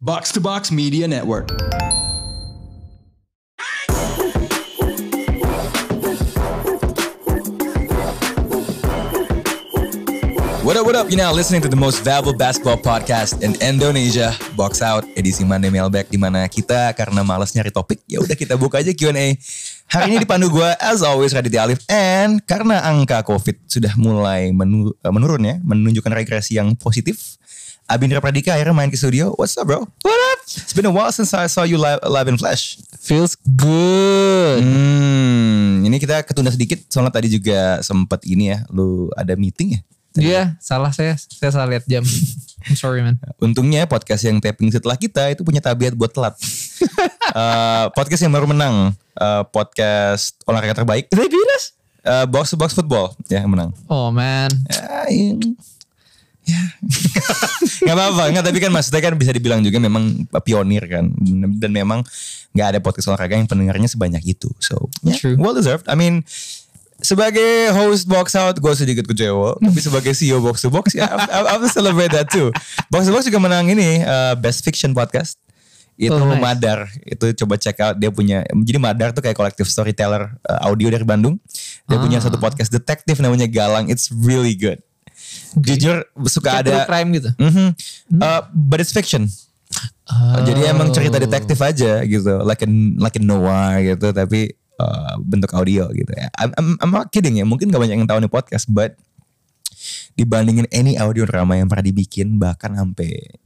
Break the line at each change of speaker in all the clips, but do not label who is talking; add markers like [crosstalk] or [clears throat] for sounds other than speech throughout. Box to Box Media Network. What up, what up? You're now listening to the most valuable basketball podcast in Indonesia, Box Out, edisi Monday Mailbag, di mana kita karena malas nyari topik, ya udah kita buka aja Q&A. Hari ini dipandu gue, as always, Raditya Alif. And karena angka COVID sudah mulai menu- eh, menurun ya, menunjukkan regresi yang positif, Abindra Pradika akhirnya main ke studio. What's up, bro? What up? It's been a while since I saw you live, live in flash.
Feels good.
Hmm, ini kita ketunda sedikit, soalnya tadi juga sempat ini ya, lu ada meeting ya?
Iya, salah saya. Saya salah lihat jam. [laughs] I'm sorry man.
Untungnya podcast yang taping setelah kita itu punya tabiat buat telat. Eh, podcast yang baru menang, eh, podcast olahraga terbaik,
They beat us.
eh, box to box football ya yang menang.
Oh man.
Ya, yang- ya. [laughs] nggak apa-apa, nggak tapi kan maksudnya kan bisa dibilang juga memang pionir kan, dan memang nggak ada podcast olahraga yang pendengarnya sebanyak itu. So, ya,
True.
well deserved. I mean, sebagai host box out gue sedikit kecewa tapi sebagai CEO box to box ya I, I, I will celebrate that too box to box juga menang ini uh, best fiction podcast itu
Oh, nice.
Madar itu coba check out dia punya jadi Madar tuh kayak kolektif storyteller uh, audio dari Bandung dia
Ah.
punya satu podcast detektif namanya Galang it's really good jujur suka
Kayak
ada
true crime gitu.
Mhm. Uh, but it's fiction
Oh.
jadi emang cerita detektif aja gitu, like a, like a noir gitu, tapi uh, bentuk audio gitu. ya. I'm, I'm, I'm not kidding ya, mungkin gak banyak yang tahu nih podcast, but dibandingin any audio drama yang pernah dibikin, bahkan sampai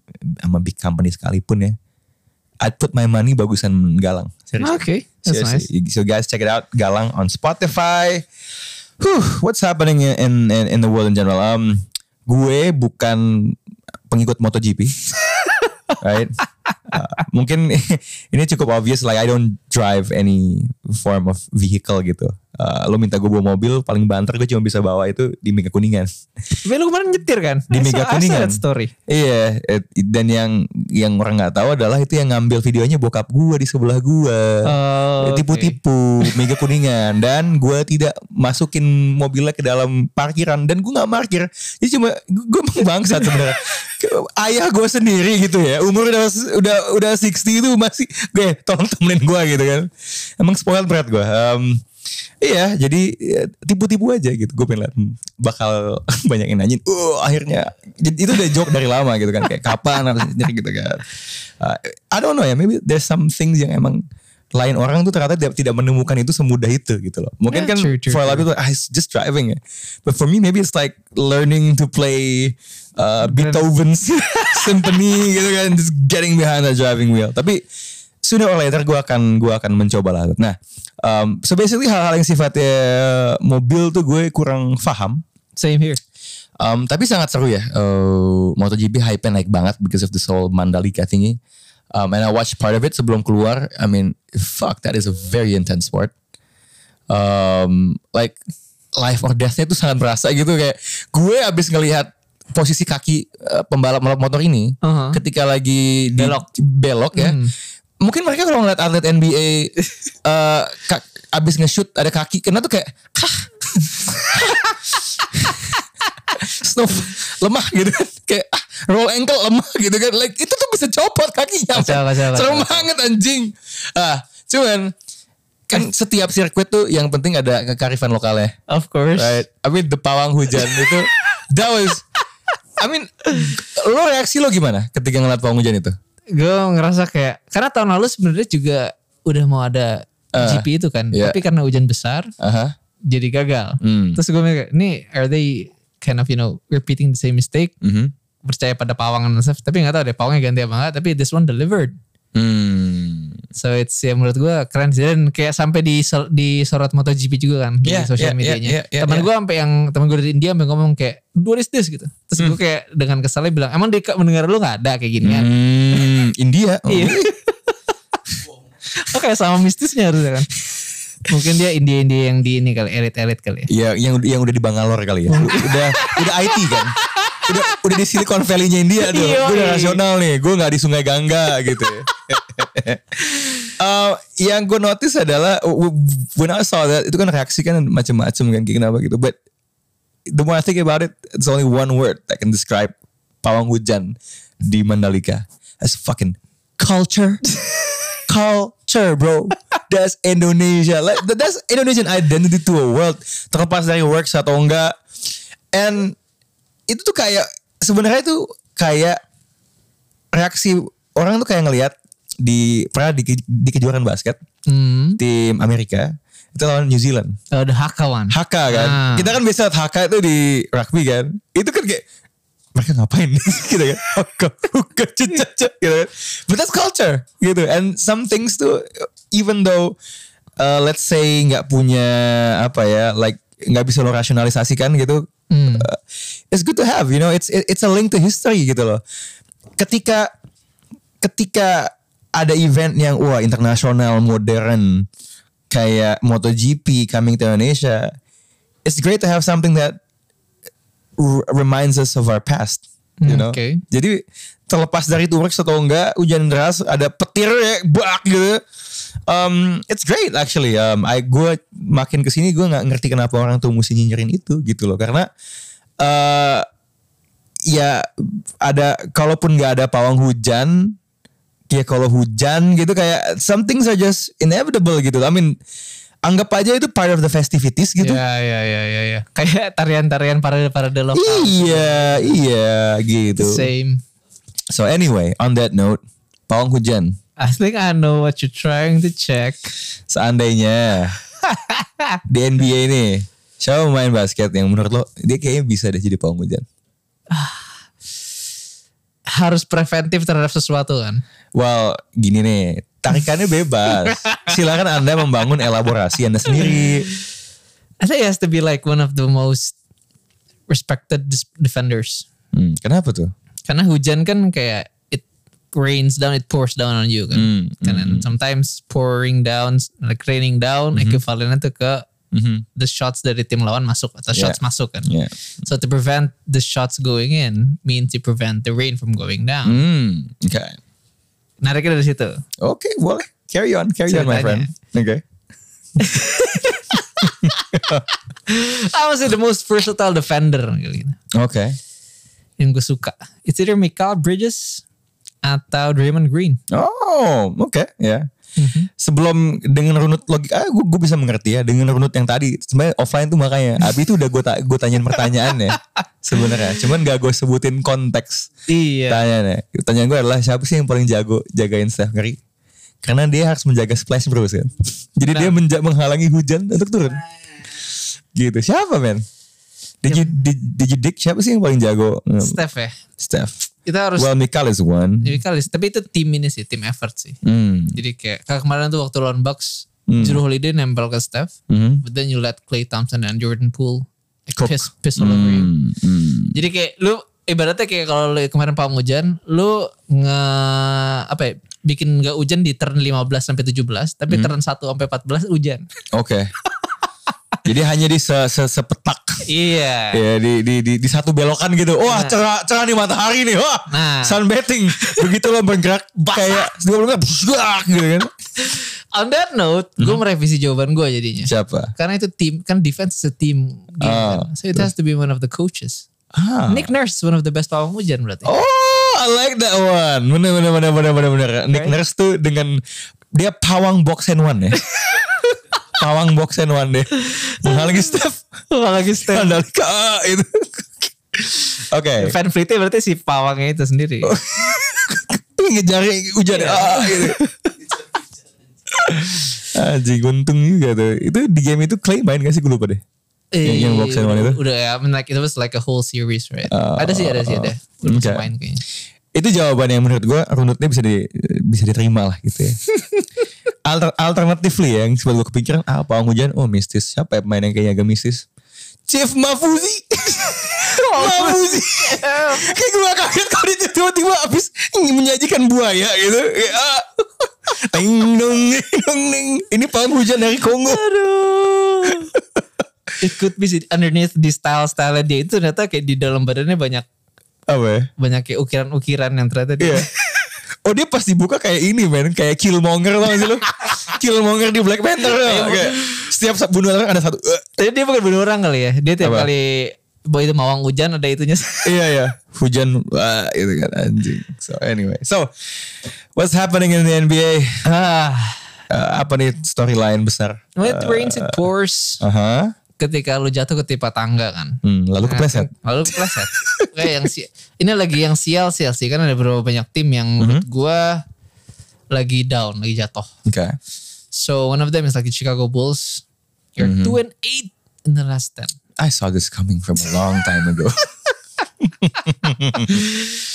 sama big company sekalipun ya, I put my money bagusan Galang. Serius.
Oke, Oh, that's nice.
Seriously. So guys, check it out, Galang on Spotify. Whew, what's happening in, in in the world in general? Um, gue bukan pengikut MotoGP, [laughs] right? Uh, mungkin [laughs] ini cukup obvious, like I don't drive any form of vehicle gitu. Uh, lo minta gue bawa mobil, paling banter gue cuma bisa bawa itu di Mega Kuningan. [laughs]
Tapi lu kemarin nyetir kan?
Di
I saw-
Mega
I saw
Kuningan.
that story.
Iya, eh, dan yang yang orang nggak tahu adalah itu yang ngambil videonya bokap gue di sebelah gue.
Oh,
Ya. tipu-tipu mega kuningan dan gue tidak masukin mobilnya ke dalam parkiran dan gue nggak parkir jadi cuma gue emang bangsat sebenarnya Ke- ayah gue sendiri gitu ya umur udah udah udah 60 itu masih gue tolong temenin gue gitu kan emang spoiled berat gue Em, Iya, jadi ya, tipu-tipu aja gitu. Gue pengen liat, hmm, bakal [laughs] banyak yang nanyain. Uh, akhirnya jadi itu udah joke dari lama gitu kan. Kayak kapan harus nyetir gitu kan. Uh, I don't know ya. Maybe there's some things yang emang lain orang tuh ternyata tidak tidak menemukan itu semudah itu gitu loh. Mungkin
Yeah,
kan
true, true,
for a lot of people, ah, it's just driving ya. But for me maybe it's like learning to play uh, Beethoven's [laughs] symphony gitu kan. Just getting behind the driving wheel. Tapi sooner or later gue akan gue akan mencoba lah. Nah, um, so basically hal-hal yang sifatnya mobil tuh gue kurang paham.
Same here.
Um, tapi sangat seru ya. Uh, MotoGP hype-nya naik banget because of the whole Mandalika thingy. Um, and I watched part of it sebelum keluar. I mean, fuck, that is a very intense sport. Um, like life or death-nya tuh sangat berasa gitu kayak gue abis ngelihat posisi kaki eh, pembalap pembalap motor ini
Uh-huh.
ketika lagi di-
Belok.
belok ya.
Hmm.
Mungkin mereka kalau ngeliat atlet
[laughs]
NBA eh, ka- abis nge-shoot ada kaki kena tuh kayak "Hah." Snuff, [laughs] lemah gitu kan. Kayak "Ah, roll ankle lemah [laughs] gitu kan. Like itu tuh bisa copot kakinya.
Kacau,
man.
kacau, kacau.
Serem banget anjing. Ah, cuman kan setiap sirkuit tuh yang penting ada kekarifan lokalnya.
Of course.
Right. I mean the pawang
[laughs]
hujan itu that was I mean lo reaksi lo gimana ketika ngeliat pawang hujan itu?
Gue ngerasa kayak karena tahun lalu sebenarnya juga udah mau ada
Eh,
GP itu kan,
yeah.
tapi karena hujan besar
Aha.
jadi gagal.
ya. Hmm.
Terus gue mikir, ini are they kind of you know repeating the same mistake?
Mhm.
Percaya pada pawangan dan stuff, tapi nggak tahu deh pawangnya ganti apa nggak. Tapi this one delivered.
Hmm.
So it's ya menurut gue keren sih dan kayak sampai di di sorot MotoGP juga kan
Yeah,
di sosial
yeah,
medianya.
yeah, yeah, yeah,
teman
yeah.
gue sampai yang teman gue dari India sampai ngomong kayak what is this gitu. Terus gue kayak dengan kesalnya bilang emang di mendengar lu nggak ada kayak gini kan.
Hmm, India. Oh.
Iya. Oke sama mistisnya harusnya kan. Mungkin dia India-India yang di ini kali elit-elit kali ya.
Ya, yang yang udah di Bangalore kali
[laughs]
ya. udah udah IT kan. Udah udah di Silicon Valley-nya India tuh.
Iya,
Gue udah
iya.
nasional nih. Gue nggak di Sungai Gangga gitu. ya. Eh, yang gue notice adalah w- w- when I saw that itu kan reaksi kan macam-macam kan kayak kenapa gitu. But the more I think about it, it's only one word that can describe pawang hujan di Mandalika. That's fucking culture. culture, bro. That's Indonesia. Like, that- that's Indonesian identity to a world. Terlepas dari works atau enggak. And itu tuh kayak sebenarnya itu kayak reaksi orang tuh kayak ngelihat di pernah di, ke- di kejuaraan basket
Hmm.
tim Amerika itu lawan New Zealand.
Oh, the Hakawan.
Haka kan.
Ah.
Kita kan biasa lihat Haka itu di rugby kan. Itu kan kayak mereka ngapain [laughs] gitu kan. Haka, Haka, cecet, cecet, gitu kan. But that's culture gitu. And some things tuh even though uh, let's say nggak punya apa ya like nggak bisa lo rasionalisasikan gitu.
Hmm.
uh, it's good to have, you know. It's it's a link to history gitu loh. Ketika ketika ada event yang wah internasional modern kayak MotoGP coming to Indonesia, it's great to have something that r- reminds us of our past. You
Hmm,
know?
oke.
Jadi terlepas dari itu works atau enggak, hujan deras, ada petir ya, bak gitu. Um, it's great actually. Um, I gue makin kesini gue nggak ngerti kenapa orang tuh mesti nyinyirin itu gitu loh, karena eh ya ada kalaupun nggak ada pawang hujan ya kalau hujan gitu kayak some things are just inevitable gitu. I mean anggap aja itu part of the festivities gitu.
Ya, ya, ya, ya, ya. Kayak tarian-tarian parade-parade lokal.
Iya, iya gitu.
Same.
So anyway, on that note, pawang hujan
I think I know what you're trying to check.
seandainya di NBA ini siapa main basket yang menurut lo dia kayaknya bisa deh jadi pawang hujan.
Harus preventif terhadap sesuatu kan.
Well, gini nih, tarikannya bebas. Silakan Anda membangun elaborasi Anda sendiri.
I think he has to be like one of the most respected dis- defenders.
Hmm, kenapa tuh?
Karena hujan kan kayak it rains down, it pours down on you kan.
Hmm,
And then sometimes pouring down, like raining down, equivalennya tuh ke
mhm,
the shots dari tim lawan masuk atau
Yeah.
shots masuk kan.
yeah.
So to prevent the shots going in means you prevent the rain from going down.
Hmm, oke.
Nariknya dari situ.
Oke, boleh. Carry on, carry on my
Ceritanya.
friend. Oke.
I was the most versatile defender kali ini.
Oke.
Yang gue suka. It's either Michael Bridges atau Draymond Green.
Oh, oke, ya. Sebelum dengan runut logika, ah, gue, gue bisa mengerti ya dengan runut yang tadi. Sebenarnya offline tuh makanya Abi itu udah gue ta gue tanyain pertanyaannya sebenarnya. Cuman gak gue sebutin konteks
Iya.
tanyanya. Pertanyaan gue adalah siapa sih yang paling jago jagain Steph Curry? Karena dia harus menjaga splash bros kan. Jadi dia menja- menghalangi hujan untuk turun. Gitu. Siapa
Iya.
men? Did you, did, did you dig siapa sih yang paling jago? Hmm,
Steph Iya. ya.
Steph.
Kita harus
Well, Mikal is one.
Mikal is- tapi itu tim ini sih, tim effort sih.
Hmm.
Jadi kayak kayak kemarin tuh waktu lawan Bucks, Drew Holiday nempel ke Steph,
Mhm.
but then you let Clay Thompson and Jordan Poole piss, piss all over you.
Hmm, hmm.
Jadi kayak lu ibaratnya kayak kalau lu kemarin pawang hujan, lu nge apa ya, bikin nggak hujan di turn 15 sampai 17, tapi turn 1 sampai 14 hujan.
Oke. [laughs] Jadi hanya di se, se- sepetak.
Iya.
Ya, di, di, di, di satu belokan gitu. Wah, cerah cerah nih matahari nih. Wah,
Nah. [laughs]
sunbathing. Begitu lo bergerak kayak 20 menit busuak, gitu kan.
On that note, gue merevisi jawaban gue jadinya.
Siapa?
Karena itu tim kan defense is a team game
Ah,
kan. So it has to be one of the coaches.
Ah.
Nick Nurse is one of the best pawang hujan berarti.
Oh, I like that one. Bener bener bener bener bener bener. Nick
Right?
Nurse tuh dengan dia pawang box and one
[laughs]
ya. pawang box and one deh. Menghalangi Steph.
Apalagi Steph.
Mandalika ah, itu. Oke.
[laughs] Fan fleetnya berarti si pawangnya itu sendiri.
Oh, Ih, ngejar hujan ah, gitu. Anjing untung juga tuh. Itu di game itu Clay main gak sih gue lupa deh. Yang- yang box and one itu?
Udah ya, I mean, like it was like a whole series right.
Ah,
ada sih, ada sih, ada. Udah
okay.
masuk main kayaknya. [laughs]
Itu jawaban yang menurut gue runutnya bisa di, bisa diterima lah gitu [laughs] ya. Alter, alternatively ya yang sebelum gue kepikiran ah pawang hujan oh mistis siapa ya pemain yang kayaknya agak mistis Chief Mafuzi Mafuzi kayak gue kaget kalau dia tiba-tiba habis menyajikan buaya gitu Kayak, ah. [laughs] Ting dong, ting dong, ting. ini pawang hujan dari Kongo
Aduh. It could be sih, underneath di style-style dia itu ternyata kayak di dalam badannya banyak
apa ya
banyak kayak ukiran-ukiran yang ternyata dia.
Iya. [laughs] Oh dia pas dibuka kayak ini men Kayak Killmonger tau gak sih lo Killmonger di Black Panther tau gak? Kayak Setiap sa- bunuh orang ada satu eh.
Tapi dia bukan bunuh orang kali ya. Dia tiap
Apa?
kali Boy itu mawang hujan ada itunya.
[laughs] iya ya hujan wah itu kan anjing so anyway so what's happening in the NBA
ah,
Uh, apa nih storyline besar Eh, uh-huh.
when it rains it
Ah.
pours.
Aha.
Ketika lu jatuh ketipa tangga kan.
Hmm, lalu kepleset
Lalu kepleset. Kayak ya? yang si ini lagi yang sial sial sih kan ada beberapa banyak tim yang menurut gua lagi down, lagi jatuh.
oke
So one of them is like the Chicago Bulls. You're two and eight in the last ten.
I saw this coming from a long time ago [laughs]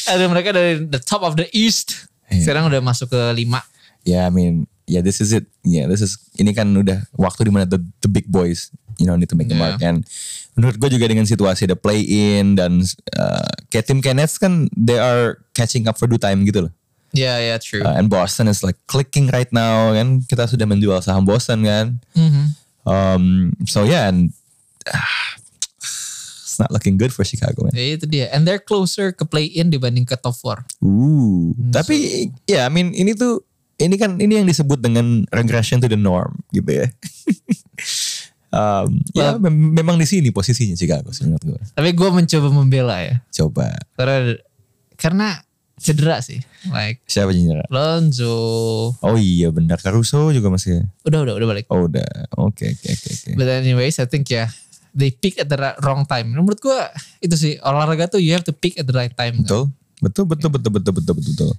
Ada mereka dari the top of the East.
Iya.
Sekarang udah masuk ke lima.
yeah I mean yeah this is it yeah this is ini kan udah waktu dimana the, the big boys you know need to make a
Yeah.
mark and menurut gue juga dengan situasi the play in dan uh, kayak tim kayak Nets kan they are catching up for due time gitu loh
Ya ya true.
Uh, and Boston is like clicking right now kan kita sudah menjual saham Boston kan
Mhm.
Um, so yeah, and ah, it's not looking good for Chicago, man.
Ya, itu dia. And they're closer ke play in dibanding ke top four.
Ooh. Tapi ya, yeah, I mean ini tuh ini kan ini yang disebut dengan regression to the norm gitu ya. [laughs] um, ya mem- memang di sini posisinya Chicago sih menurut gue.
Tapi gue mencoba membela ya.
Coba
Karena karena cedera sih. Like
siapa yang nyerah?
Lonzo.
Oh iya benar Caruso juga masih.
Udah udah udah balik.
Oh udah. Oke oke oke oke.
But anyways, I think ya they pick at the ra- wrong time. Nah, Menurut gue itu sih olahraga tuh you have to pick at the right time. kan?
Betul. Betul betul betul betul betul betul betul.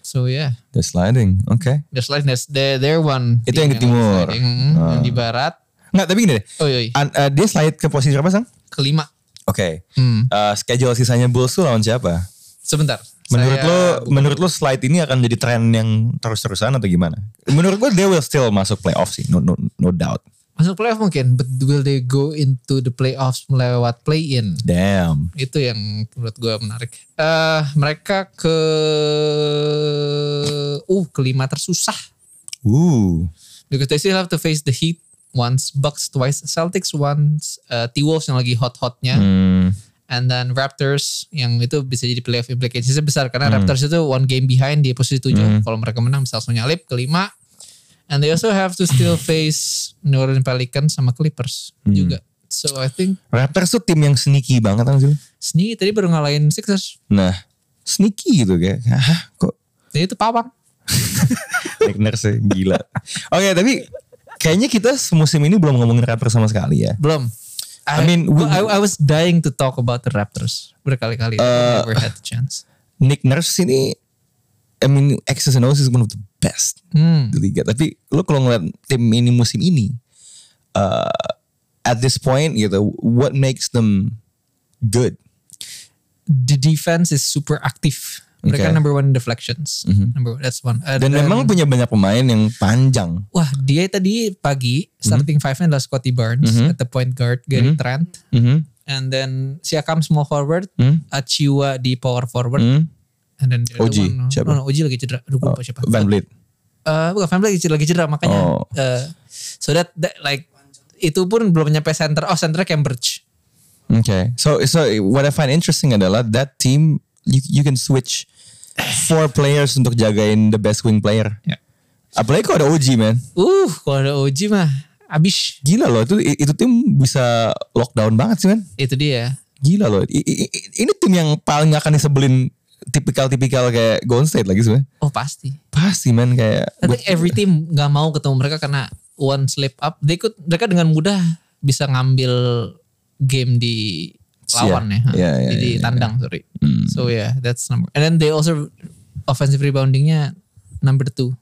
So yeah,
The sliding. Oke.
there's like there's there there one.
Itu
team
yang di timur. Ah.
lagi sliding. Mhm, Yang di barat.
Nggak tapi gini deh.
Oh yoi,
An- eh, dia slide ke posisi berapa sang?
kelima.
Oke.
Hmm.
Eh, schedule sisanya Bulls tuh lawan siapa?
Sebentar.
Menurut
Saya
lo,
buka
menurut lo slide ini akan jadi tren yang terus-terusan atau gimana? Menurut gue they will still masuk playoff sih, no no no doubt.
masuk playoff mungkin, but will they go into the playoffs melewat play-in?
Damn.
Itu yang menurut gue menarik. Eh mereka ke uh kelima tersusah.
Ooh.
Because they still have to face the Heat once, Bucks twice, Celtics once, eh, T-Wolves yang lagi hot-hotnya,
Hmm.
and then Raptors yang itu bisa jadi playoff implicationsnya besar
Hmm.
karena Raptors itu one game behind di posisi 7. Kalau mereka menang bisa langsung nyalip kelima. And they also have to
[laughs]
still face New Orleans Pelicans sama Clippers
Hmm.
juga. So I think
Raptors tuh tim yang sneaky banget kan sih?
Sni tadi baru ngalahin Sixers.
Nah, sneaky gitu kayak, hah kok
Jadi itu pawang.
Nick Nurse ya? gila. [laughs] Oke tapi kayaknya kita musim ini belum ngomongin Raptors sama sekali ya.
Belum.
I mean, we-
gua- I, I was dying to talk about the Raptors berkali-kali. I
Uh,
never had the chance.
Nick Nurse ini, I mean X's and O's is one of the best
Hmm.
di liga. Tapi lu kalau ngeliat tim ini musim ini, uh, at this point gitu, what makes them good?
The defense is super active.
Okay.
Mereka
Mhm.
number one in deflections. Number one, that's one. And
Dan
then-
memang punya banyak pemain yang panjang.
Wah dia tadi pagi
Mhm.
starting five-nya adalah Scotty Barnes at the point guard, Gary Trent, and then Siakam small forward,
Mhm.
Achiuwa di power forward,
Hmm?
and then the other
Oji,
one-
siapa? Oh,
No, no, Oji lagi cedera. Aduh, gue lupa Oh, siapa.
Van Vliet.
Eh, bukan Van Vliet lagi cedera, lagi cedera makanya.
Oh.
eh, so that, that like itu pun belum nyampe center. Oh center Cambridge.
Okay. So so what I find interesting adalah that team you you can switch four players untuk jagain the best wing player.
Ya.
Apalagi kalau ada OG man.
Uh, kalau ada Oji mah abis.
Gila loh itu itu tim bisa lockdown banget sih man.
Itu dia.
Gila loh. I- i- i- ini tim yang paling akan disebelin tipikal-tipikal kayak Golden State lagi sebenarnya.
Oh pasti.
Pasti man kayak
I think every team nggak mau ketemu mereka karena one slip up, they could mereka dengan mudah bisa ngambil game di lawan ya, Hmm.
Yeah. Yeah, yeah,
di
yeah,
tandang sorry. So yeah, that's number. And then they also offensive reboundingnya number two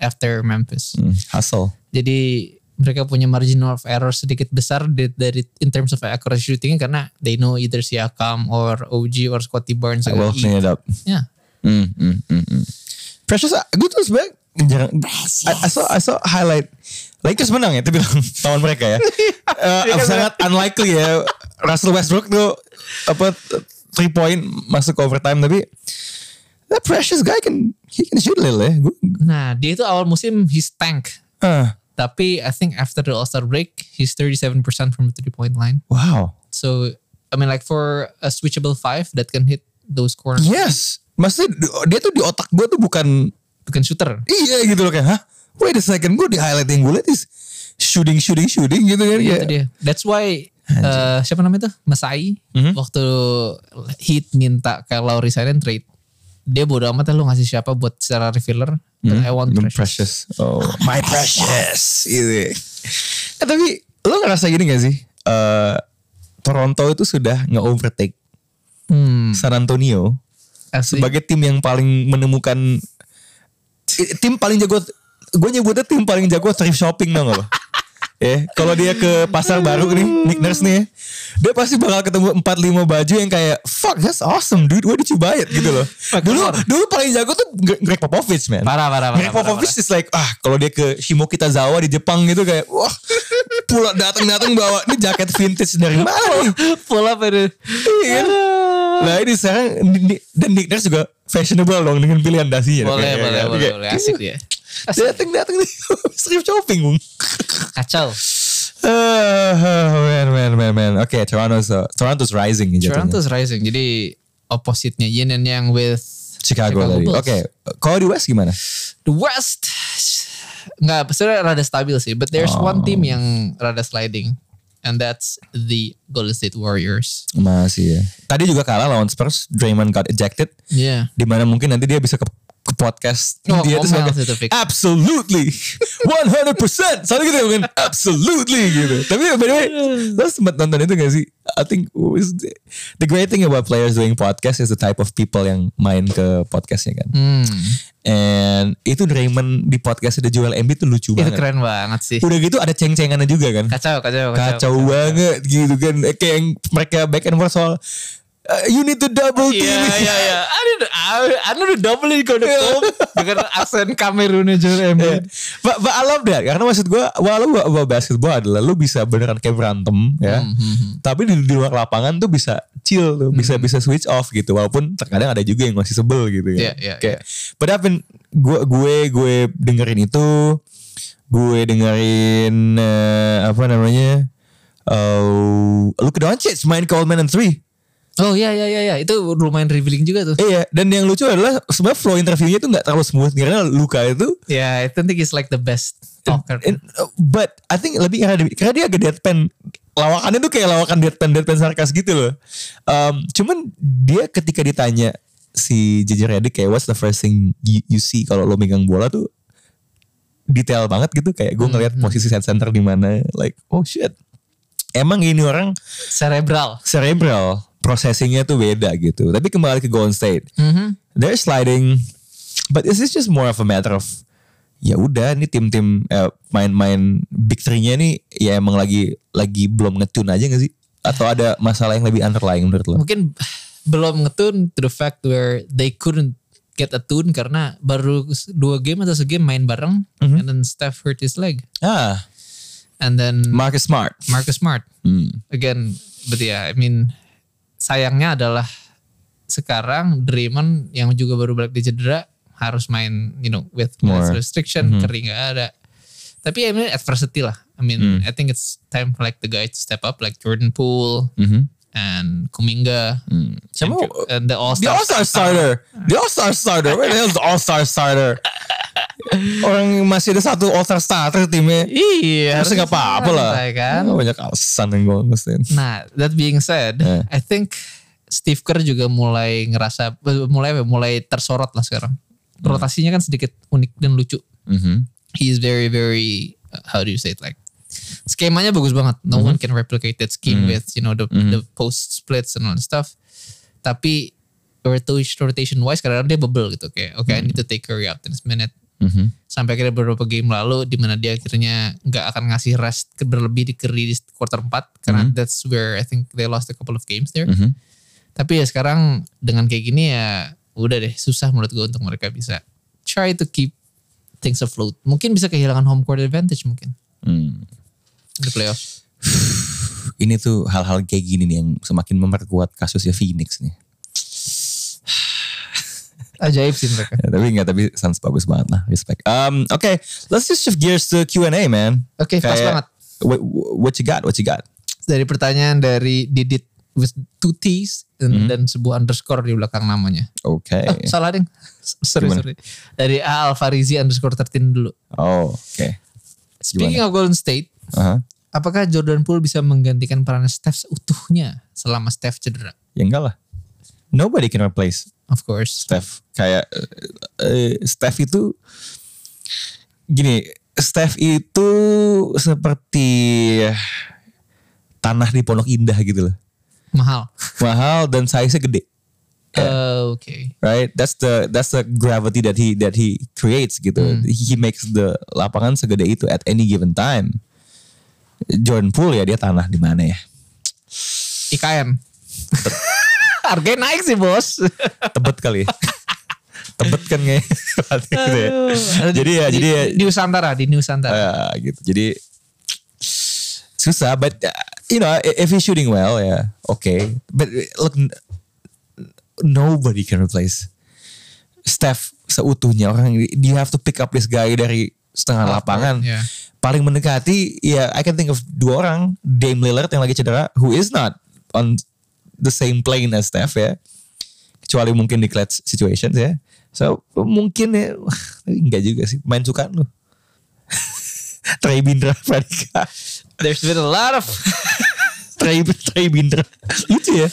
after Memphis.
hmm, hustle.
Jadi mereka punya margin of error sedikit besar di- dari in terms of accuracy shooting karena they know either Siakam or OG or Scotty Barnes Ya.
I will
or
clean it up.
Yeah.
Mm, mm, mm, mm. Precious, gue tuh sebenernya jarang. I, I saw, I saw highlight. Lakers menang ya, tapi [laughs] bilang lawan mereka ya. Eh, sangat unlikely ya. Russell Westbrook tuh apa three point masuk overtime tapi that precious guy can he can shoot a little ya. Gua,
Nah, dia itu awal musim he's tank.
ah,
Tapi I think after the All Star break, he's 37% from the three point line.
wow.
So I mean, like for a switchable five that can hit those corners,
Yes. Maksudnya di- dia tuh di otak gue tuh bukan
bukan shooter.
iya gitu loh kayak hah wait a second gue di highlight yang gue liat is shooting shooting shooting gitu kan
Iya,
ya.
itu dia. That's why eh, siapa namanya tuh Masai
Mhm.
waktu Heat minta Kyle Lowry sign and trade dia bodo amat ya lu ngasih siapa buat secara refiller but I want
Hmm,
Precious.
Oh. My precious. Gitu. Eh, tapi lo ngerasa gini gak sih? Eh, Toronto itu sudah nge-overtake
Hmm,
San Antonio
asli.
sebagai tim yang paling menemukan eh, tim paling jago gue nyebutnya tim paling jago thrift shopping dong
[laughs]
lo ya kalau dia ke pasar baru nih Nick Nurse nih ya, dia pasti bakal ketemu 4-5 baju yang kayak fuck that's awesome dude where did you buy it gitu
[laughs]
loh dulu dulu paling jago tuh Gre- Greg Popovich man
parah parah parah.
Greg
parah,
Popovich is like ah kalau dia ke Shimokitazawa di Jepang gitu kayak
[laughs]
wah pulang datang datang bawa ini jaket vintage dari mana nih?
parah. Pull up itu.
Iya kan? Nah ini sekarang Ni- Ni- dan Nick Nurse juga fashionable dong dengan pilihan ya. dasinya.
Boleh
Kayak-
boleh
kayak-
boleh
kayak-
boleh asik dia.
Dateng dateng nih [laughs] strip shopping Bung.
Kacau.
Ah, man man man man. Oke Toronto's uh, Toronto's rising nih jatuhnya.
Toronto's rising. Jadi opposite-nya Yin and Yang with
Chicago,
Chicago
tadi. Oke
Bulls.
kalau di West gimana?
The West nggak sebenarnya rada stabil sih, but there's one team yang rada sliding, and that's the Golden State Warriors.
Masih ya. Tadi juga kalah lawan Spurs. Draymond got ejected.
Yeah.
Dimana mungkin nanti dia bisa ke, ke podcast.
Oh,
dia
ngomel sih itu, Vic.
absolutely 100% soalnya gitu kan absolutely gitu tapi by the way lo sempat nonton itu gak sih I think was- the great thing about players doing podcast is the type of people yang main ke podcastnya kan
Hmm.
and itu Draymond di podcast The Joel Embiid tuh lucu
Itu
banget
Iya, keren banget sih.
udah gitu ada ceng-cengannya juga kan
Kacau, kacau, kacau.
kacau banget gitu kan kayak yang mereka back and forth soal "Uh, you need to double team
Iya, iya, iya. Aduh, aduh, aduh, double ini kode pom dengan aksen Kamerunnya Joel
Yeah.
Embiid.
But, but I love that karena maksud gue walau gua, gua basketball adalah lu bisa beneran kayak berantem ya tapi di, di luar lapangan tuh bisa chill tuh bisa bisa switch off gitu walaupun terkadang ada juga yang masih sebel gitu ya
Yeah, yeah,
kayak but I've been- gua- gue gue dengerin itu gue dengerin eh, apa namanya eh Luka Doncic main ke Old Man and Three
Oh iya, iya, iya, iya. Itu lumayan revealing juga tuh.
Iya, dan yang lucu adalah sebenarnya flow interviewnya tuh nggak terlalu smooth karena Luka itu
Ya, yeah, I think he's like the best talker.
And, uh, but I think lebih karena, karena dia agak deadpan. Lawakannya tuh kayak lawakan deadpan deadpan sarkas gitu loh. Um, cuman dia ketika ditanya si JJ Redick kayak what's the first thing you, you see kalau lo megang bola tuh detail banget gitu kayak gue ngeliat posisi set center di mana like oh shit emang ini orang
Cerebral.
cerebral processingnya tuh beda gitu tapi kembali ke Golden State
Mhm.
they're sliding but is this just more of a matter of ya udah ini tim-tim eh, main-main big three-nya nih ya emang lagi lagi belum ngetune aja gak sih atau ada masalah yang lebih underlying menurut lo?
Mungkin belum ngetun to the fact where they couldn't get a tune karena baru dua game atau segame main bareng
Mhm.
and then Steph hurt his leg
Ah,
and then
Marcus Smart.
Marcus Smart
Hmm.
again but yeah I mean sayangnya adalah sekarang Draymond yang juga baru balik di cedera harus main you know with
More.
minutes
Mhm.
restriction kering nggak ada tapi I mean adversity lah I mean
Hmm.
I think it's time for like the guy to step up like Jordan Poole
Mhm.
and Kuminga
Sama,
and, and the All
Hmm. The
Star
All-Star starter. The All-Star starter. Where the hell's the All-Star starter? Orang masih ada satu All-Star starter timnya.
iya
Harusnya gak apa-apa lah.
santai kan
Oh, banyak alasan yang gue ngesin.
Nah, that being said,
Eh.
I think Steve Kerr juga mulai ngerasa mulai ya, mulai tersorot lah sekarang.
Hmm.
Rotasinya kan sedikit unik dan lucu.
Mm-hmm.
He is very very uh, how do you say it like skemanya bagus banget. No
Hmm.
one can replicate that scheme with you know the the post splits and all that stuff. Tapi rotation rotation wise kadang dia bubble gitu kayak oke okay,
Hmm.
I need to take Curry out in this minute
Mhm.
sampai akhirnya beberapa game lalu di mana dia akhirnya nggak akan ngasih rest ke- berlebih di Curry di quarter 4 karena that's where I think they lost a couple of games there.
Mhm.
Tapi ya sekarang dengan kayak gini ya udah deh susah menurut gue untuk mereka bisa try to keep things afloat. Mungkin bisa kehilangan home court advantage mungkin
Hmm.
di playoff.
ini tuh hal-hal kayak gini nih yang semakin memperkuat kasusnya Phoenix nih.
Ajaib sih mereka.
Ya, tapi enggak, tapi Suns bagus banget lah, respect. Um, oke, let's just shift gears to Q&A, man.
Oke, pas
Kayak,
banget.
What, what you got? What you got?
Dari pertanyaan dari Didit with two T's dan, dan sebuah underscore di belakang namanya.
Oke.
Oh, salah ding. [laughs] sorry,
Gimana?
sorry. Dari A Alfarizi underscore 13 dulu.
Oh, oke. Uh-huh.
Speaking of Golden State,
Aha.
Apakah Jordan Poole bisa menggantikan peran Steph seutuhnya selama Steph cedera?
Ya enggak lah. Nobody can replace
Of course.
Steph. Kayak eh, eh, Steph itu gini, Steph itu seperti tanah di Pondok Indah gitu
[laughs]
loh.
Mahal.
Mahal dan size-nya gede. Iya.
Eh, Oke.
right? That's the that's the gravity that he that he creates gitu.
Hmm.
He makes the lapangan segede itu at any given time. Jordan Poole ya dia tanah di mana ya?
IKM. [laughs] Harganya naik sih bos.
Tebet kali.
[laughs]
ya. Tebet kan kayak gitu ya. Jadi ya
di,
jadi ya
di Nusantara, di Nusantara.
eh, gitu. Jadi susah but uh, you know if he's shooting well ya okay. But look n- nobody can replace Steph seutuhnya orang you have to pick up this guy dari setengah
Half
lapangan.
court, yeah.
Paling mendekati ya I can think of dua orang, Dame Lillard yang lagi cedera who is not on the same plane as Steph ya. Kecuali mungkin di clutch situations ya. So mungkin ya [laughs] tapi enggak juga sih main suka lu. [laughs] Trey Bindra Pradika.
There's been a lot
[laughs]
of
Trey, Trey Bindra. Lucu ya.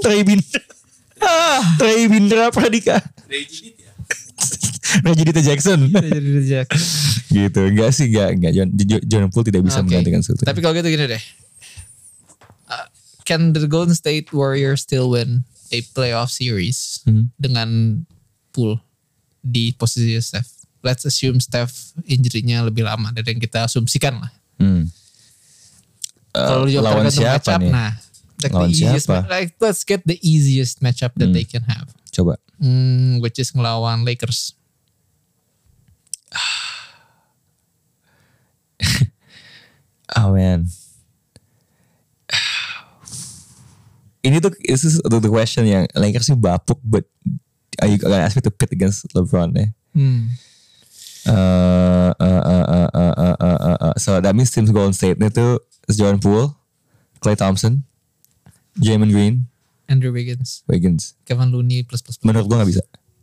Trey Bindra.
Ah.
Trey Bindra Pradika. Regidita Jackson. gitu. Enggak sih, enggak enggak John, Jo- Jordan Poole tidak bisa
Ah, Oke.
menggantikan Suter.
Tapi kalau gitu gini deh. Uh, can the Golden State Warriors still win a playoff series
Hmm.
dengan pool di posisi Steph? Let's assume Steph injury-nya lebih lama dari yang kita asumsikan lah.
Hmm. Eh,
Kalau jawab
lawan
tergantung
siapa
matchup,
nih?
Nah, like
Lawan
the easiest,
siapa? Hmm.
ma- like let's get the easiest matchup that they can have.
Coba.
Hmm, which is ngelawan Lakers.
Oh man. Ini tuh this is the the question yang Lakers sih bapuk but are you gonna ask me to pit against LeBron ya?
Hmm.
Uh, uh, uh, uh, uh, uh, uh, uh, uh. So that means teams Golden State itu is Jordan Poole, Clay Thompson, Jamin Green,
Andrew Wiggins,
Wiggins.
Kevin Looney plus plus plus.
Menurut gue nggak bisa,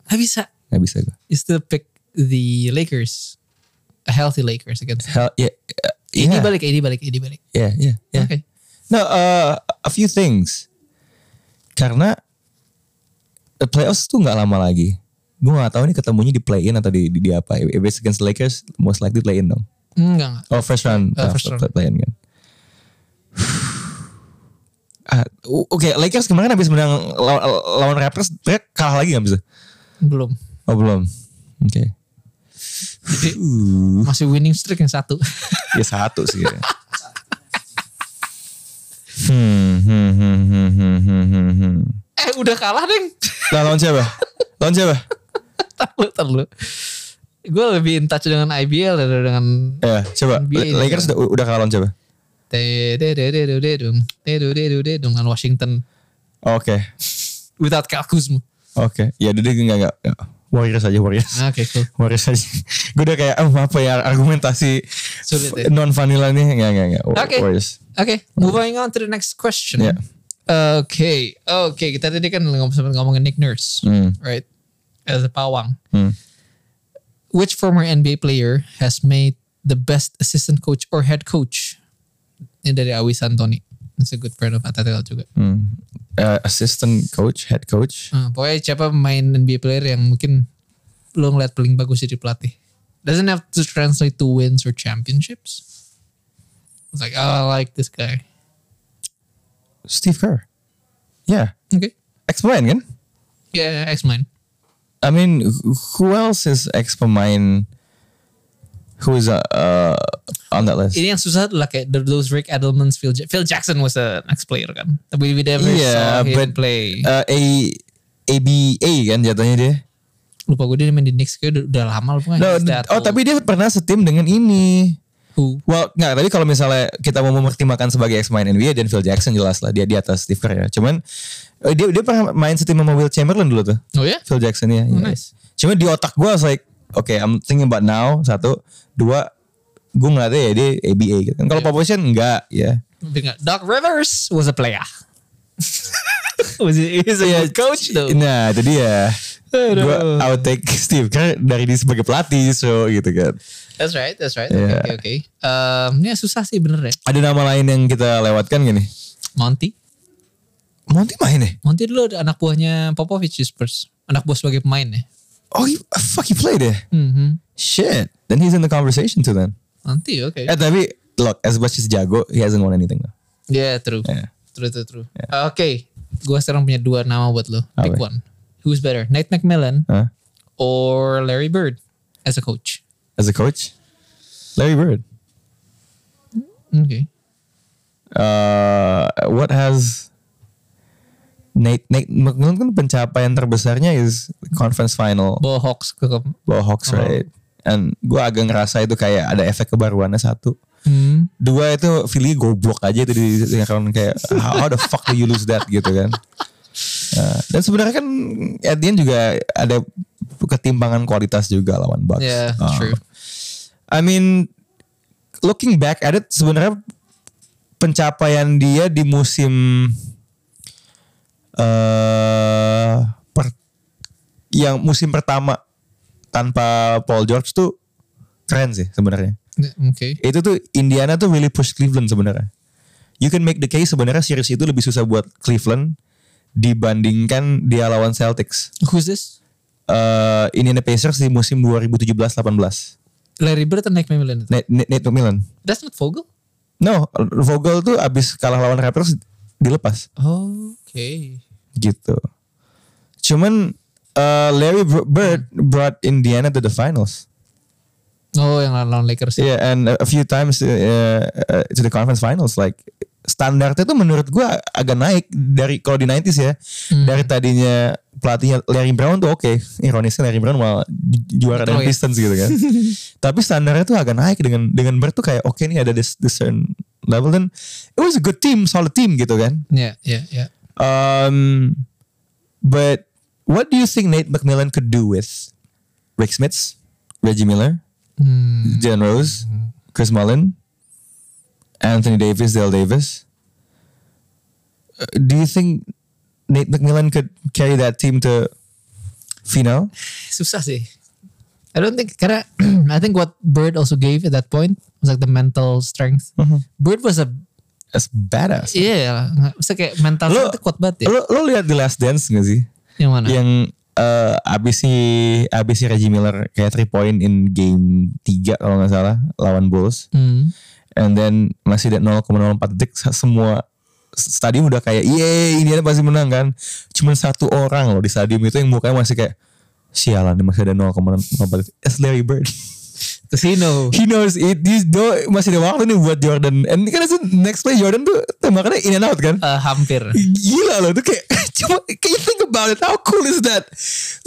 Gak bisa.
nggak bisa gue.
You still pick the Lakers, a healthy Lakers against.
Hell yeah, uh,
Ini
yeah,
balik, ini balik, ini balik.
yeah, yeah, yeah.
Oke.
No, uh, a few things. Karena the playoffs tuh nggak lama lagi. Gue nggak tahu ini ketemunya di play-in atau di, di, di apa. If it's against Lakers, most likely play-in dong.
Enggak, enggak.
Oh first round,
Uh,
uh,
first round.
play-in kan. [sighs] Ah, o- Oke, Lakers kemarin habis menang lawan, lawan Raptors, mereka kalah lagi nggak bisa?
Belum.
Oh belum. Oke.
Jadi
Uh,
masih winning streak yang satu.
[laughs]
[laughs]
ya satu sih. ya. hmm, hmm, hmm, hmm, hmm, hmm, hmm, hmm.
eh, udah kalah, Deng.
Nah, lawan siapa? Lawan siapa?
Ntar lu, ntar lu. Gue lebih in touch dengan IBL daripada dengan
Ya, coba.
NBA ini
Lakers udah, udah kalah lawan siapa?
Dedededededung, dedededededung, dengan Washington
Oke.
without Kyle Kuzma.
Oke. Ya, jadi enggak enggak. enggak. Warriors aja, Warriors.
Oke, Ah, cool.
Warriors aja. Gue udah kayak oh, apa ya argumentasi
Sulit ya.
non vanilla nih enggak enggak enggak. Wa-
Oke.
Warriors.
Oke, moving on to the next question.
Yeah.
Oke, oke, kita tadi kan ngom- sempat ngomongin Nick Nurse,
Hmm.
right? As a pawang.
Hmm.
Which former NBA player has made the best assistant coach or head coach? Ini dari Awi Santoni. It's a good friend of Atatel juga.
hmm. Eh, assistant coach, head coach.
Ah, pokoknya siapa main NBA player yang mungkin lo ngeliat paling bagus jadi pelatih. Doesn't have to translate to wins or championships. It's like, oh, I like this guy.
Steve Kerr. Yeah.
Okay.
Ex-pemain kan?
Yeah, X mine.
I mean, wh- who else is ex-pemain who is uh, uh, on that list?
Ini yang susah adalah kayak the- those Rick Edelmans, Phil, Ja- Phil Jackson was an ex-player kan. Tapi we never
Yeah,
saw him
but-
play.
Uh, A ABA kan jatuhnya dia.
Lupa gue dia main di Knicks kayak udah, udah lama lupa
No, oh tapi dia pernah setim dengan ini.
Who?
Well, nggak. Tapi kalau misalnya kita mau mempertimbangkan sebagai ex main NBA dan Phil Jackson jelas lah dia di atas Steve Kerr ya. Cuman eh, dia dia pernah main setim sama Will Chamberlain dulu tuh.
Oh ya?
Phil Jackson ya.
Oh,
Iya.
nice.
Cuma di otak gue like, oke, I'm thinking about now. Satu, dua, gue ngeliatnya ya dia ABA gitu. Kan Kalau
Iya.
Popovich enggak ya.
Ingat, Doc Rivers
[laughs]
was a player. was he, he's a good coach though.
Iya. Nah, itu dia. gue outtake Steve Kerr dari dia sebagai pelatih so gitu kan.
That's right, that's right. Oke,
Iya.
oke, oke. Em, ya susah sih bener ya.
Ada nama lain yang kita lewatkan gini.
Monty.
Monty main ya?
Monty dulu ada anak buahnya Popovich di Spurs. Anak buah sebagai pemain ya.
Oh, he, fuck he played ya?
Mhm.
Shit. Then he's in the conversation too then.
Monty, oke.
Eh tapi look, as much as jago, he hasn't won anything though.
Yeah, true.
Yeah.
True, true, true. Oke, gua sekarang punya dua nama buat lo.
Apa?
Pick one. Who's better, Nate McMillan
Huh?
or Larry Bird as a coach?
As a coach, Larry Bird.
Oke.
Uh, what has Nate Nate McMillan kan pencapaian terbesarnya is conference final
Bawa Hawks ke
bawa Hawks
Uh-huh.
right. And gue agak ngerasa itu kayak ada efek kebaruannya satu.
hmm.
Dua itu Philly goblok aja itu di di- karena kayak how, how the fuck do you lose that gitu kan. Uh, dan sebenarnya kan at the end juga ada ketimpangan kualitas juga lawan Bucks.
Yeah,
Uh,
true.
I mean, looking back at it, sebenarnya pencapaian dia di musim eh per- yang musim pertama tanpa Paul George tuh keren sih sebenarnya.
Oke.
Itu tuh Indiana tuh really push Cleveland sebenarnya. You can make the case sebenarnya series itu lebih susah buat Cleveland dibandingkan dia lawan Celtics.
Who's this?
Eh Indiana Pacers di musim 2017-18.
Larry Bird atau Nate McMillan itu?
Nate, Nate, Nate McMillan.
That's not Vogel?
No, Vogel tuh abis kalah lawan Raptors dilepas Oh.
Oke.
gitu. Cuman uh, Larry Br- Bird brought Indiana to the finals.
Oh, yang lawan Lakers.
Yeah, and a a few times uh, uh, to the conference finals. Like standarnya tuh menurut gua agak naik dari kalau di 90s ya. Dari tadinya pelatihnya Larry Brown tuh oke. Ironisnya Larry Brown malah ju- juara
Betul,
dari
ya.
Pistons gitu kan. Tapi standarnya tuh agak naik dengan dengan Bird tuh kayak oke nih ada this, this certain level dan it was a good team, solid team gitu kan.
Ya, ya, ya.
Um, but what do you think Nate McMillan could do with Rick Smiths, Reggie Miller,
Hmm.
Jan Rose, Chris Mullen, Anthony Davis, Dale Davis? Uh, do you think Nate McMillan could carry that team to final?
Susah sih. I don't think karena [clears throat] I think what Bird also gave at that point was like the mental strength. Bird was a
That's badass.
iya yeah, bisa kayak mental
Lo-
strength kuat banget ya.
Lo, lo lihat The Last Dance gak sih?
yang mana?
Yang eh, abis si abis si Reggie Miller kayak 3 point in game 3 kalau nggak salah lawan Bulls.
Hmm.
and then masih ada 0,04 detik sa- semua stadium udah kayak yeay ini pasti menang kan cuman satu orang loh di stadium itu yang mukanya masih kayak sialan ini masih ada 0,04 detik it's Larry Bird [laughs]
Casino.
he knows it He know- masih ada waktu nih buat Jordan and kan itu next play Jordan tuh tembakannya in and out kan
[laughs] Eh, hampir.
gila loh tuh kayak [laughs] cuma can you think about it how cool is that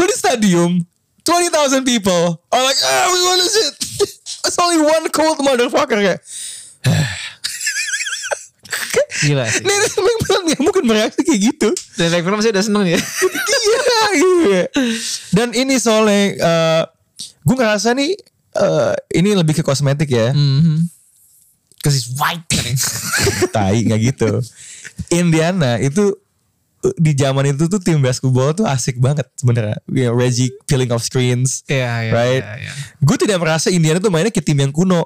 lo di stadium 20,000 people are like ah we won this shit [laughs] it's only one cold motherfucker kayak
Gila sih.
Nenek McMillan gak "Ya, mungkin bereaksi kayak gitu.
Dan like film sih udah seneng [laughs] ya.
Iya, iya. Dan ini soalnya, eh gue ngerasa nih, eh ini lebih ke kosmetik ya.
Mhm. Cause it's white. [laughs]
Tai, gak gitu. Indiana itu eh, di zaman itu tuh tim basketball tuh asik banget sebenarnya. You know, Reggie peeling off screens,
Iya, iya.
right?
iya, iya.
Gue tidak merasa Indiana tuh mainnya kayak tim yang kuno.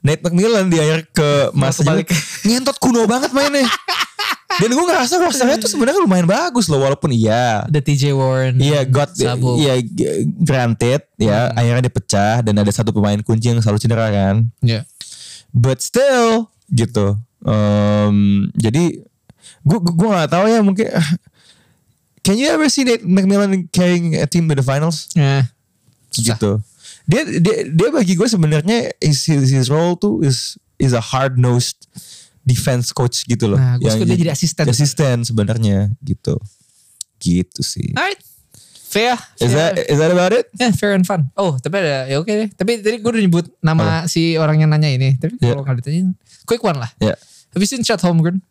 Nate McMillan di akhir ke masa
kebalik.
juga, nyentot kuno banget mainnya. Dan gue ngerasa rosternya tuh sebenarnya lumayan bagus loh walaupun iya
The TJ Warren.
Iya, got
Sabo.
iya g- granted
Hmm.
ya akhirnya dia pecah dan ada satu pemain kunci yang selalu cedera kan.
Iya.
But still gitu. Em, jadi gua gua gua nggak tahu ya mungkin [laughs] Can you ever see Nate McMillan carrying a team to the finals?
Eh, Susah.
Gitu. Dia dia dia bagi gue sebenarnya his, his, his role tuh is is a hard nosed defense coach gitu loh.
Nah, gua suka dia jadi asisten.
Asisten sebenarnya gitu. Gitu sih.
Alright. Fair.
Is that
fair.
is that about it?
Ya, fair and fun. Oh, tapi ada ya oke deh. Tapi tadi gue udah nyebut nama si orang yang nanya ini. Tapi
Yeah.
kalau nggak ditanya, quick one lah.
Yeah.
Have you seen Chad Holmgren?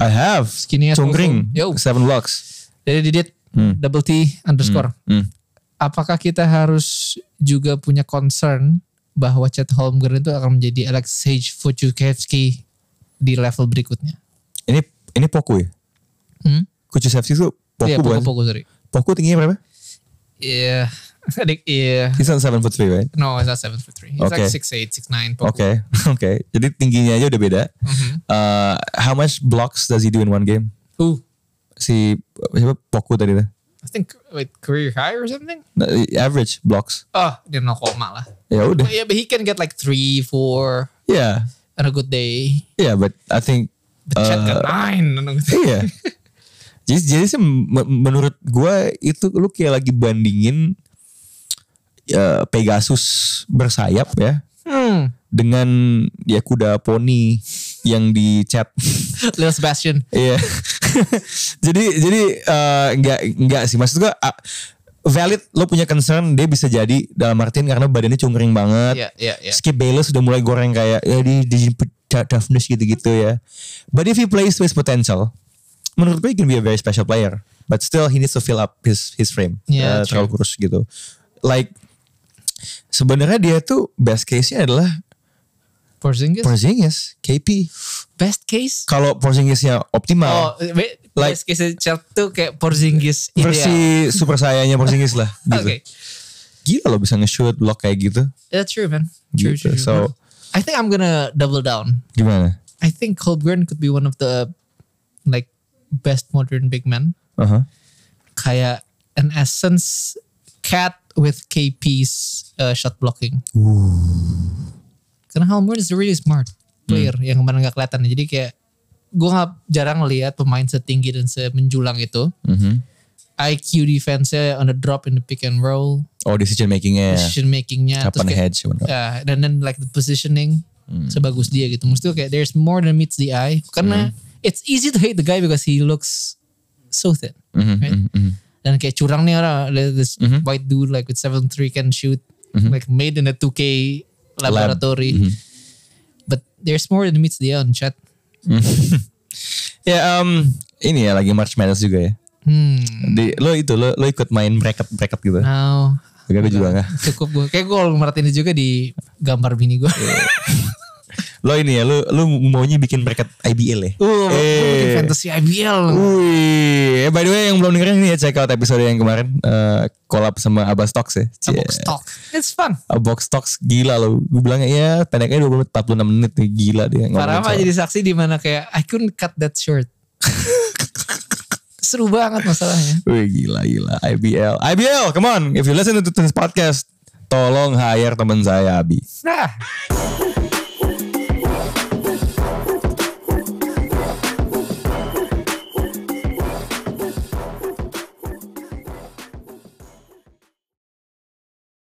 I have.
Skinny as
Cungkring.
possible. Yo.
Seven blocks.
Dari Didit
Hmm.
double T underscore.
Hmm.
Apakah kita harus juga punya concern bahwa Chad Holmgren itu akan menjadi Alex Sage Fojukevski di level berikutnya?
Ini ini Poku ya?
Hmm?
Kucusevski itu Poku
Iya,
bukan?
pokok-pokok sorry.
Poku tingginya berapa?
[laughs] yeah, I think yeah.
He's not seven foot three, right?
iya. No, it's not seven foot three. It's
Okay.
like six eight, six nine.
Oke, [laughs] oke. Jadi tingginya aja udah beda.
Mm-hmm.
Uh, how much blocks does he do in one game?
Who?
Si siapa Poku tadi tuh?
I think wait, career high or something.
Nah, Average blocks.
Oh, dia 0,0 lah.
Ya udah.
But yeah, but he can get like three, four
Yeah,
on a good day.
yeah. But I think
But Chet got nine. [laughs] on a good day.
Iya. jadi, jadi sih me- menurut gua itu lu kayak lagi bandingin ya, Pegasus bersayap ya
Hmm.
dengan ya kuda poni yang dicat.
Lil Sebastian.
[laughs] Iya. [laughs] jadi jadi eh, nggak nggak sih maksud gua ah, valid lo punya concern dia bisa jadi dalam artian karena badannya cungkring banget.
Yeah, yeah, yeah.
Skip Bayless udah mulai goreng kayak ya di, di toughness gitu-gitu ya. But if he plays to his potential, menurut gue he can be a very special player. But still he needs to fill up his his frame.
Yeah,
Eh,
true.
terlalu kurus gitu. Like sebenarnya dia tuh best case-nya adalah
Porzingis.
Porzingis, KP.
best case.
Kalau Porzingisnya
Oh,
optimal,
wait,
Uh, Like-
best case Chet tuh kayak
[laughs]
Porzingis ideal.
versi super sayanya Porzingis
[laughs]
lah gitu.
Okay,
Gila lo bisa nge-shoot block kayak gitu.
that's true, man. True,
Gitu,
true, true.
so-
I think I'm gonna double down.
Gimana?
I think Colburn could be one of the like best modern big men.
Aha.
Kayak an essence cat with KP's uh, shot blocking. Karena Holmgren is a really smart player yang kemarin nggak kelihatan. Jadi kayak gue nggak jarang lihat pemain setinggi dan semenjulang itu.
Mhm.
IQ defense-nya on the drop in the pick and roll,
Oh decision making-nya.
decision making-nya, terus
Kapan
kayak-
hedge? whatnot.
Ya, dan then like the positioning sebagus dia gitu. Maksudnya kayak there's more than meets the eye. Karena it's easy to hate the guy because he looks so thin.
Mhm,
Right?
mhm, mhm.
Dan kayak curang nih orang this white dude like with 7'3 can shoot like made in a 2K laboratory. But there's more than meets the eye on chat.
Ya em, ini ya lagi March Madness juga ya.
Hmm.
Di, lo itu lo, lo ikut main bracket bracket gitu.
Ah, Now
Enggak gue juga enggak.
cukup gue. Kayak gue kalau merhatiin ini juga di gambar bini gue.
Lo ini ya lo lo maunya bikin bracket IBL ya.
Uh, [laughs] gua bikin
Eh. Iya.
fantasy IBL.
Wih, eh, by the way yang belum dengerin ini ya check out episode yang kemarin eh collab sama Abas Talks ya.
A box talk. It's fun.
Abas Talks Eh, gila lo. Gue bilangnya ya pendeknya 20 menit 46 menit nih gila dia ngomong.
Farah mah jadi saksi di mana kayak I couldn't cut that short. Seru banget masalahnya.
Wih gila gila IBL. IBL, come on. If you listen to this podcast, tolong hire teman saya Abi.
Nah,